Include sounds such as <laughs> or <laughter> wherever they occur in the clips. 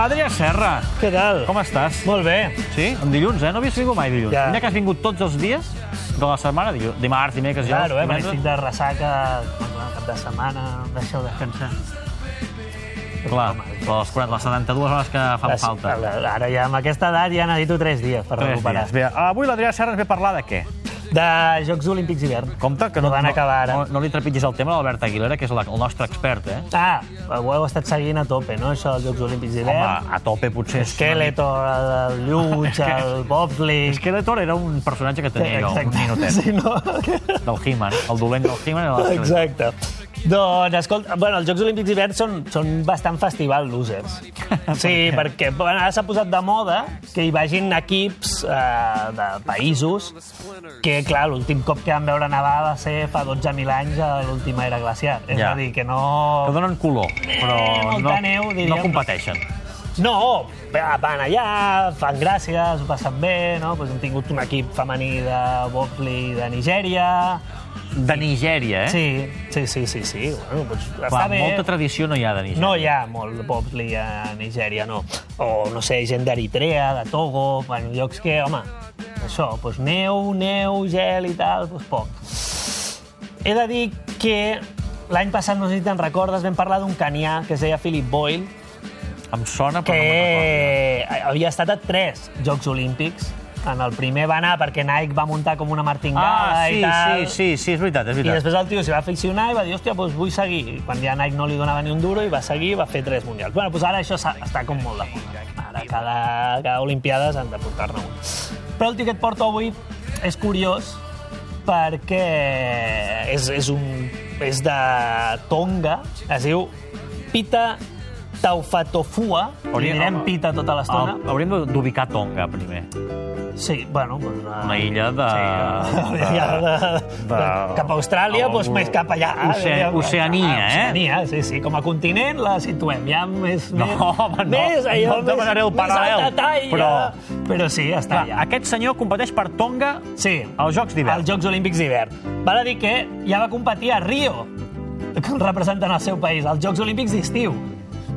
Adrià Serra, Què tal? com estàs? Molt bé. Sí? En dilluns, eh? No havies vingut mai dilluns. Ja. Mira que has vingut tots els dies de la setmana, dilluns, dimarts, dimecres, Claro, eh? Quan divendres. estic de ressaca, bueno, cap de setmana, em deixeu descansar. Clar, les, 40, les 72 hores que fan Les- falta. la- Ara ja, amb aquesta edat, ja necessito tres dies per Tres recuperar. dies. Bé, avui l'Adrià Serra ens ve a parlar de què? De Jocs Olímpics d'hivern. Compte que No van acabar ara. no, no li trepitgis el tema a l'Albert Aguilera, que és la, el nostre expert, eh? Ah, ho heu estat seguint a tope, no?, això dels Jocs Olímpics d'hivern. Home, a tope potser... és una mica- Eh? Skeletor, el <laughs> Lluig, el Bobli... Skeletor era un personatge que tenia allò, un Exacte. ninotet, <laughs> Sí, no? del He-Man. El dolent del He-Man era l'Skeletor. Exacte. Doncs, escolta, bueno, els Jocs Olímpics d'hivern són, són bastant festival losers. Sí, perquè bueno, ara s'ha posat de moda que hi vagin equips eh, de països que, clar, l'últim cop que vam veure nevar va ser fa 12.000 anys a l'última era glacial. És Ja. a dir, que Que no... donen color, però molta no, neu, no diríem. competeixen. No, va- van allà, fan gràcies, ho passen bé, no? Pues hem tingut un equip femení de bobsleigh de Nigèria... De Nigèria, eh? Sí, sí, sí, sí, sí. Bueno, pues, Clar, està bé. molta tradició no hi ha de Nigèria. No hi ha molt bobsleigh a Nigèria, no. O, no sé, gent d'Eritrea, de Togo, bueno, llocs que, home, això, doncs neu, neu, gel i tal, doncs poc. He de dir que l'any passat, no sé si te'n recordes, vam parlar d'un canià que es deia Philip Boyle, Em sona, però que havia estat a tres Jocs Olímpics. En el primer va anar perquè Nike va muntar com una no me'n recordo. martingala Ah, i sí, tal. sí, sí, sí, és veritat, és I veritat. després el tio s'hi va aficionar i va dir, hòstia, doncs vull seguir. I quan ja Nike no li donava ni un duro i va seguir i va fer tres mundials. Bueno, doncs ara això s'ha- està com molt de moda. Ara cada, cada Olimpiades han de portar-ne un. Però el tio que et porto avui és curiós perquè és, és, un, és de Tonga, es diu Pita Taufatofua, li Hauria- direm Pita tota l'estona. El, hauríem de- d'ubicar Tonga, primer. Sí, bueno... Doncs, Una illa de... Ah, Sí, ja de, de, de- cap a Austràlia, de- doncs més cap allà. Oce- diríem. Oceania, eh? Oceania, sí, sí. Com a continent la situem ja més... No, més, home, no. Més, No allò, et demanaré el més, paral·lel, Més al detall, però- ja. però sí, està Clar, allà. aquest senyor competeix per Tonga Sí, als Jocs d'hivern. als Jocs Olímpics d'hivern. Val a dir que ja va competir a Rio, representant el seu país, als Jocs Olímpics d'estiu.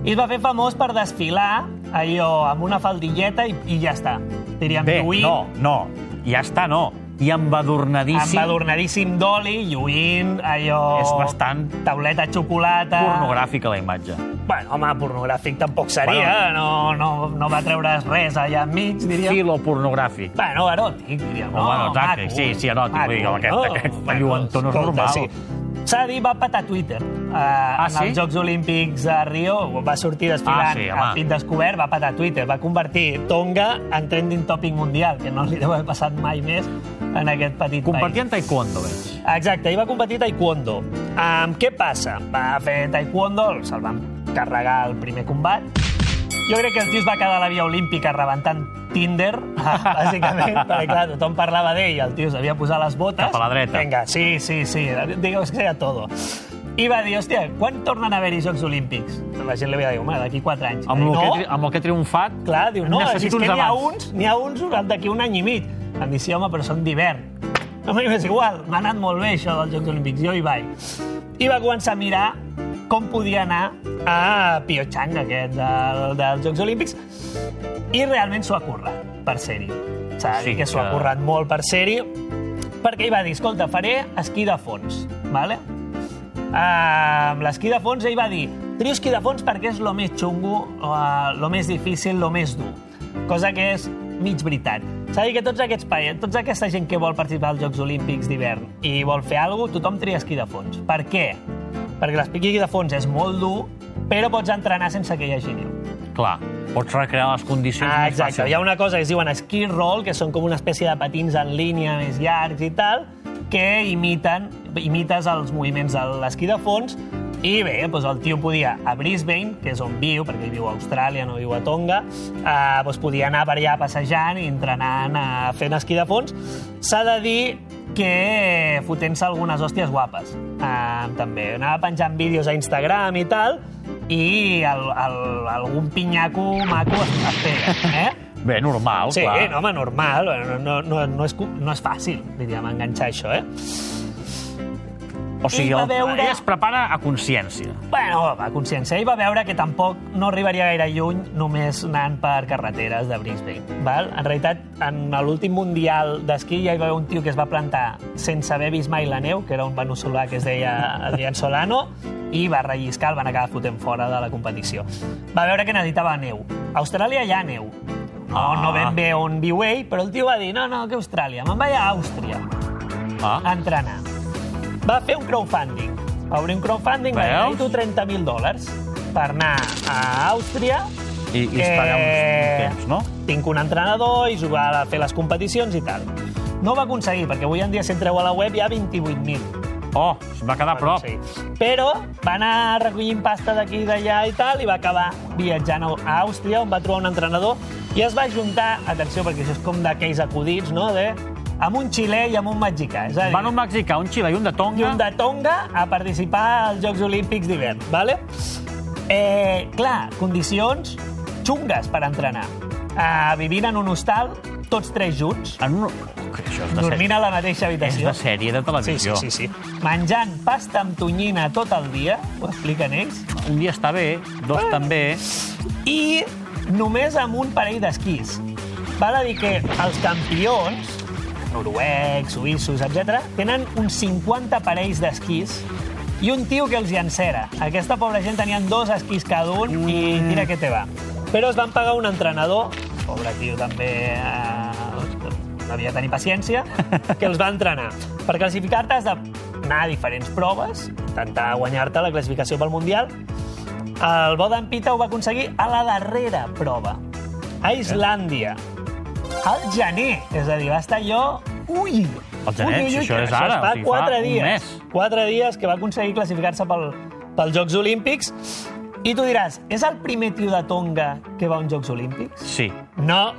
I es va fer famós per desfilar allò amb una faldilleta i, i ja està. Diríem, Bé, lluint, no, no, ja està, no. I embadurnadíssim. embadurnadíssim d'oli, lluint, allò... És bastant Tauleta de xocolata... pornogràfica, la imatge. Bueno, home, pornogràfic tampoc seria. Bueno. No, no, no va treure's res allà enmig, diríem. Sí. Filo pornogràfic. Bueno, eròtic, diríem. No, bueno, exacte, sí, sí, eròtic, vull dir, aquest- <laughs> aquest lluentor no és normal. S'ha de dir, va patar Twitter. Uh, ah, en sí? els Jocs Olímpics a Rio va sortir desfilant Ah, sí, home. a pit descobert, va patar Twitter, va convertir Tonga en trending topic mundial, que no li deu haver passat mai més en aquest petit país. Compartien taekwondo, veig. Exacte, i va competir taekwondo. Um, què passa? Va fer taekwondo, se'l van carregar el primer combat. Jo crec que el tio es va quedar a la via olímpica rebentant Tinder, <laughs> bàsicament, perquè clar, tothom parlava d'ell, el tio s'havia posat les botes. Cap a la dreta. Vinga, sí, sí, sí, digueu que sea todo. I va dir, hòstia, quan tornen a haver-hi Jocs Olímpics? La gent li havia dit, home, d'aquí 4 anys. Amb, el Va dir, que, no, he tri- amb el que he triomfat, Clar, diu, no, és necessito que uns n'hi ha abans. uns, n'hi ha uns durant d'aquí un any i mig. Em diu, sí, home, però són d'hivern. No m'és igual, m'ha anat molt bé això dels Jocs Olímpics, jo hi vaig. I va començar a mirar com podia anar a Piochang, aquest, del, dels Jocs Olímpics, i realment s'ho ha currat per ser-hi. S'ha de Sí, dir que s'ho ha que- currat molt per ser-hi, perquè ell va dir, escolta, faré esquí de fons, vale? Ah, amb l'esquí de fons ell va dir trio esquí de fons perquè és lo més xungo, eh, lo més difícil, lo més dur. Cosa que és mig veritat. S'ha de dir que tots aquests països, tota aquesta gent que vol participar als Jocs Olímpics d'hivern i vol fer alguna cosa, tothom tria esquí de fons. Per què? Perquè l'esquí de fons és molt dur, però pots entrenar sense que hi hagi neu. Clar, pots recrear les condicions Ah, més exacte. fàcil. Hi ha una cosa que es diuen ski roll, que són com una espècie de patins en línia més llargs i tal, que imiten, imites els moviments de l'esquí de fons, i bé, doncs el tio podia a Brisbane, que és on viu, perquè ell viu a Austràlia, no viu a Tonga, eh, doncs podia anar per allà passejant i entrenant, eh, fent esquí de fons. S'ha de dir que fotent-se algunes hòsties guapes. Eh, també anava penjant vídeos a Instagram i tal, i el, el, algun pinyaco maco es pega, eh? Bé, normal, Sí, Oh, clar. no, home, normal. No, no, no, no, és, cu- no és fàcil, diríem, enganxar això, eh? O sigui, Ell va el, veure- ell es prepara a consciència. Bueno, a consciència. Ell va veure que tampoc no arribaria gaire lluny només anant per carreteres de Brisbane. Val? En realitat, en l'últim mundial d'esquí ja hi va haver un tio que es va plantar sense haver vist mai la neu, que era un veneçolà que es deia Adrián Solano, i va relliscar, el van acabar fotent fora de la competició. Va veure que necessitava neu. A Austràlia hi ha neu. No, no ben bé on viu ell, però el tio va dir, no, no, que Austràlia, me'n vaig a Àustria Ah. a entrenar. Va fer un crowdfunding. Va obrir un crowdfunding, va Veus? necessito 30.000 dòlars per anar a Àustria. I, i es paga Eh, un temps, no? Tinc un entrenador i jugar a fer les competicions i tal. No va aconseguir, perquè avui en dia si entreu a la web hi ha 28.000. Oh, es va quedar a prop. Sí. Però va anar recollint pasta d'aquí i d'allà i tal, i va acabar viatjant a a Àustria, on va trobar un entrenador, i es va juntar, atenció, perquè això és com d'aquells acudits, no?, de, amb un xilè i amb un mexicà. És a dir, Van un mexicà, un xilè i un de i Tonga. un de Tonga a participar als Jocs Olímpics d'hivern, vale? Eh, clar, condicions xungues per entrenar. Eh, vivint en un hostal, tots tres junts, En un... Això és de sèrie. dormint a la mateixa Ah, És habitació. de sèrie de Sí, sí, televisió. sí, sí. Menjant pasta amb tonyina tot el dia, ho expliquen ells, Un dia està bé, dos també. i només amb un parell d'esquís. Val a dir que els campions, noruecs, suïssos, etc., tenen uns 50 parells d'esquís i un tio que els hi encera. Aquesta pobra gent tenien dos esquís cada un i mira què te va. Però es van pagar un entrenador, pobre tio també eh, no havia de tenir paciència, que els va entrenar. Per classificar-te has d'anar a diferents proves, intentar guanyar-te la classificació pel Mundial, el Bodan Pita ho va aconseguir a la darrera prova, a Islàndia, al gener. És a dir, va estar allò... Ui! Al gener, si això és ara, Això fa o sigui, fa quatre un dies. mes. Quatre dies que va aconseguir classificar-se pel, pels Jocs Olímpics. I tu diràs, és el primer tio de Tonga que va a uns Jocs Olímpics? Sí. No,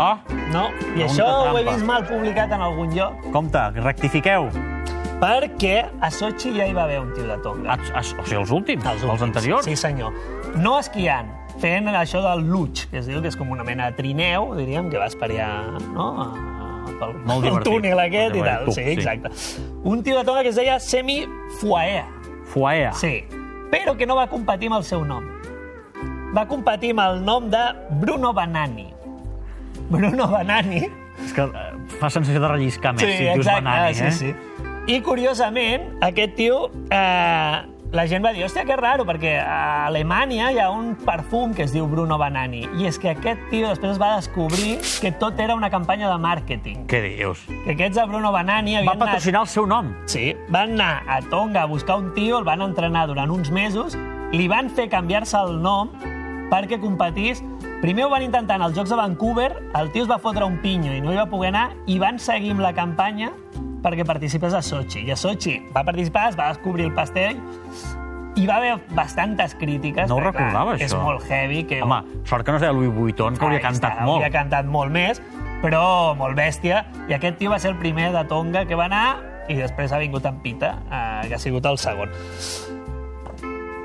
Oh, no. I Pregunta això ho he trampa. vist mal publicat en algun lloc, compte, rectifiqueu. perquè a Sochi ja hi va haver un tio de Tonga. A, a, o sigui, els últims, els, últims. els anteriors. Sí, senyor. No esquiant, fent això del luig, que es diu que és com una mena de trineu, diríem, que vas per allà, no? A- Pel, Molt pel divertit. túnel aquest i Molt tal. divertit, Sí, sí. exacte. Un tio de toga que es deia Semi Fuaea. Fuaea. Sí. Però que no va competir amb el seu nom. Va competir amb el nom de Bruno Banani. Bruno Banani. És que eh, fa sensació de relliscar més, si dius banani, sí, eh? sí. I, curiosament, aquest tio... Eh, la gent va dir, hòstia, que raro, perquè a Alemanya hi ha un perfum que es diu Bruno Banani. I és que aquest tio després es va descobrir que tot era una campanya de màrqueting. Què dius? Que aquests de Bruno Banani Va havien anat... patrocinar el seu nom. Sí, van anar a Tonga a buscar un tio, el van entrenar durant uns mesos, li van fer canviar-se el nom perquè competís. Primer ho van intentar en els Jocs de Vancouver, el tio es va fotre un pinyo i no hi va poder anar, i van seguir amb la campanya perquè participés a Sochi. I a Sochi va participar, es va descobrir el pastell, i va haver bastantes crítiques. No ho perquè, clar, recordava, És això. molt heavy. Que Home, sort que no es deia Louis Vuitton, que hauria Ahí cantat està, molt. Hauria cantat molt més, però molt bèstia. I aquest tio va ser el primer de Tonga que va anar i després ha vingut en Pita, eh, que ha sigut el segon.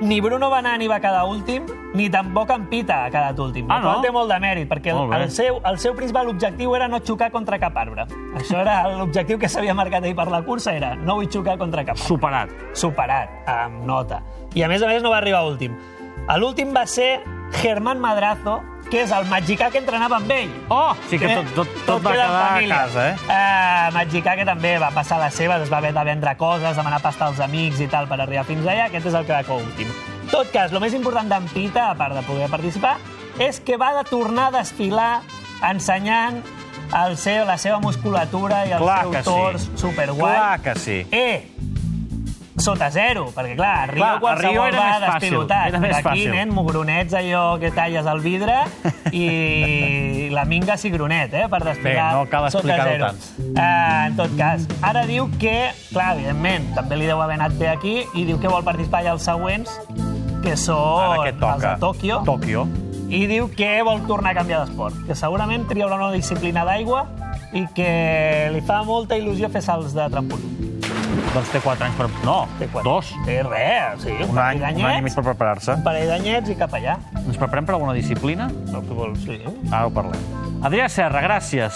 Ni Bruno Banani va quedar últim, ni tampoc en Pita ha quedat últim. Ah, la qual no? Té molt de mèrit, perquè Molt el, bé. el, seu, el seu principal objectiu era no xocar contra cap arbre. Això era l'objectiu que s'havia marcat ahir per la cursa, era no vull xocar contra cap arbre Superat. superat, amb nota. I a més a més no va arribar a últim. A L'últim va ser Germán Madrazo, que és el mexicà que entrenava amb ell. Eh? Oh! Sí que tot, tot, tot, va queda en quedar a família. casa, eh? Eh, mexicà que també va passar les seves, es va haver de vendre coses, demanar pasta als amics i tal per arribar fins allà. Aquest és el que va quedar últim. En tot cas, el més important d'en Pita, a part de poder participar, és que va de tornar a desfilar ensenyant el seu, la seva musculatura i el Clar que seu sí. tors superguai. Clar que sí. E, sota zero, perquè clar, a Rio Clar, a clar, qualsevol Rio era va més fàcil, despilotat. era més Aquí, fàcil. nen, mugronets allò que talles al vidre i la minga cigronet, eh, per desfilar Bé, no cal sota explicar-ho zero. tant. Eh, en tot cas, ara diu que, clar, evidentment, també li deu haver anat bé aquí i diu que vol participar ja als següents, que són Ara què toca? els de Tòquio, Tòquio. i diu que vol tornar a canviar d'esport, que segurament triarà una disciplina d'aigua i que li fa molta il·lusió fer salts de trampolí. Doncs té 4 anys per... No, Té quatre. dos. Té res, sí, un, Un any, parell un any i mig d'anyets, per preparar-se. un parell d'anyets i cap allà. Ens preparem per alguna disciplina? El que vols, sí. Ara ho parlem. Adrià Serra, gràcies.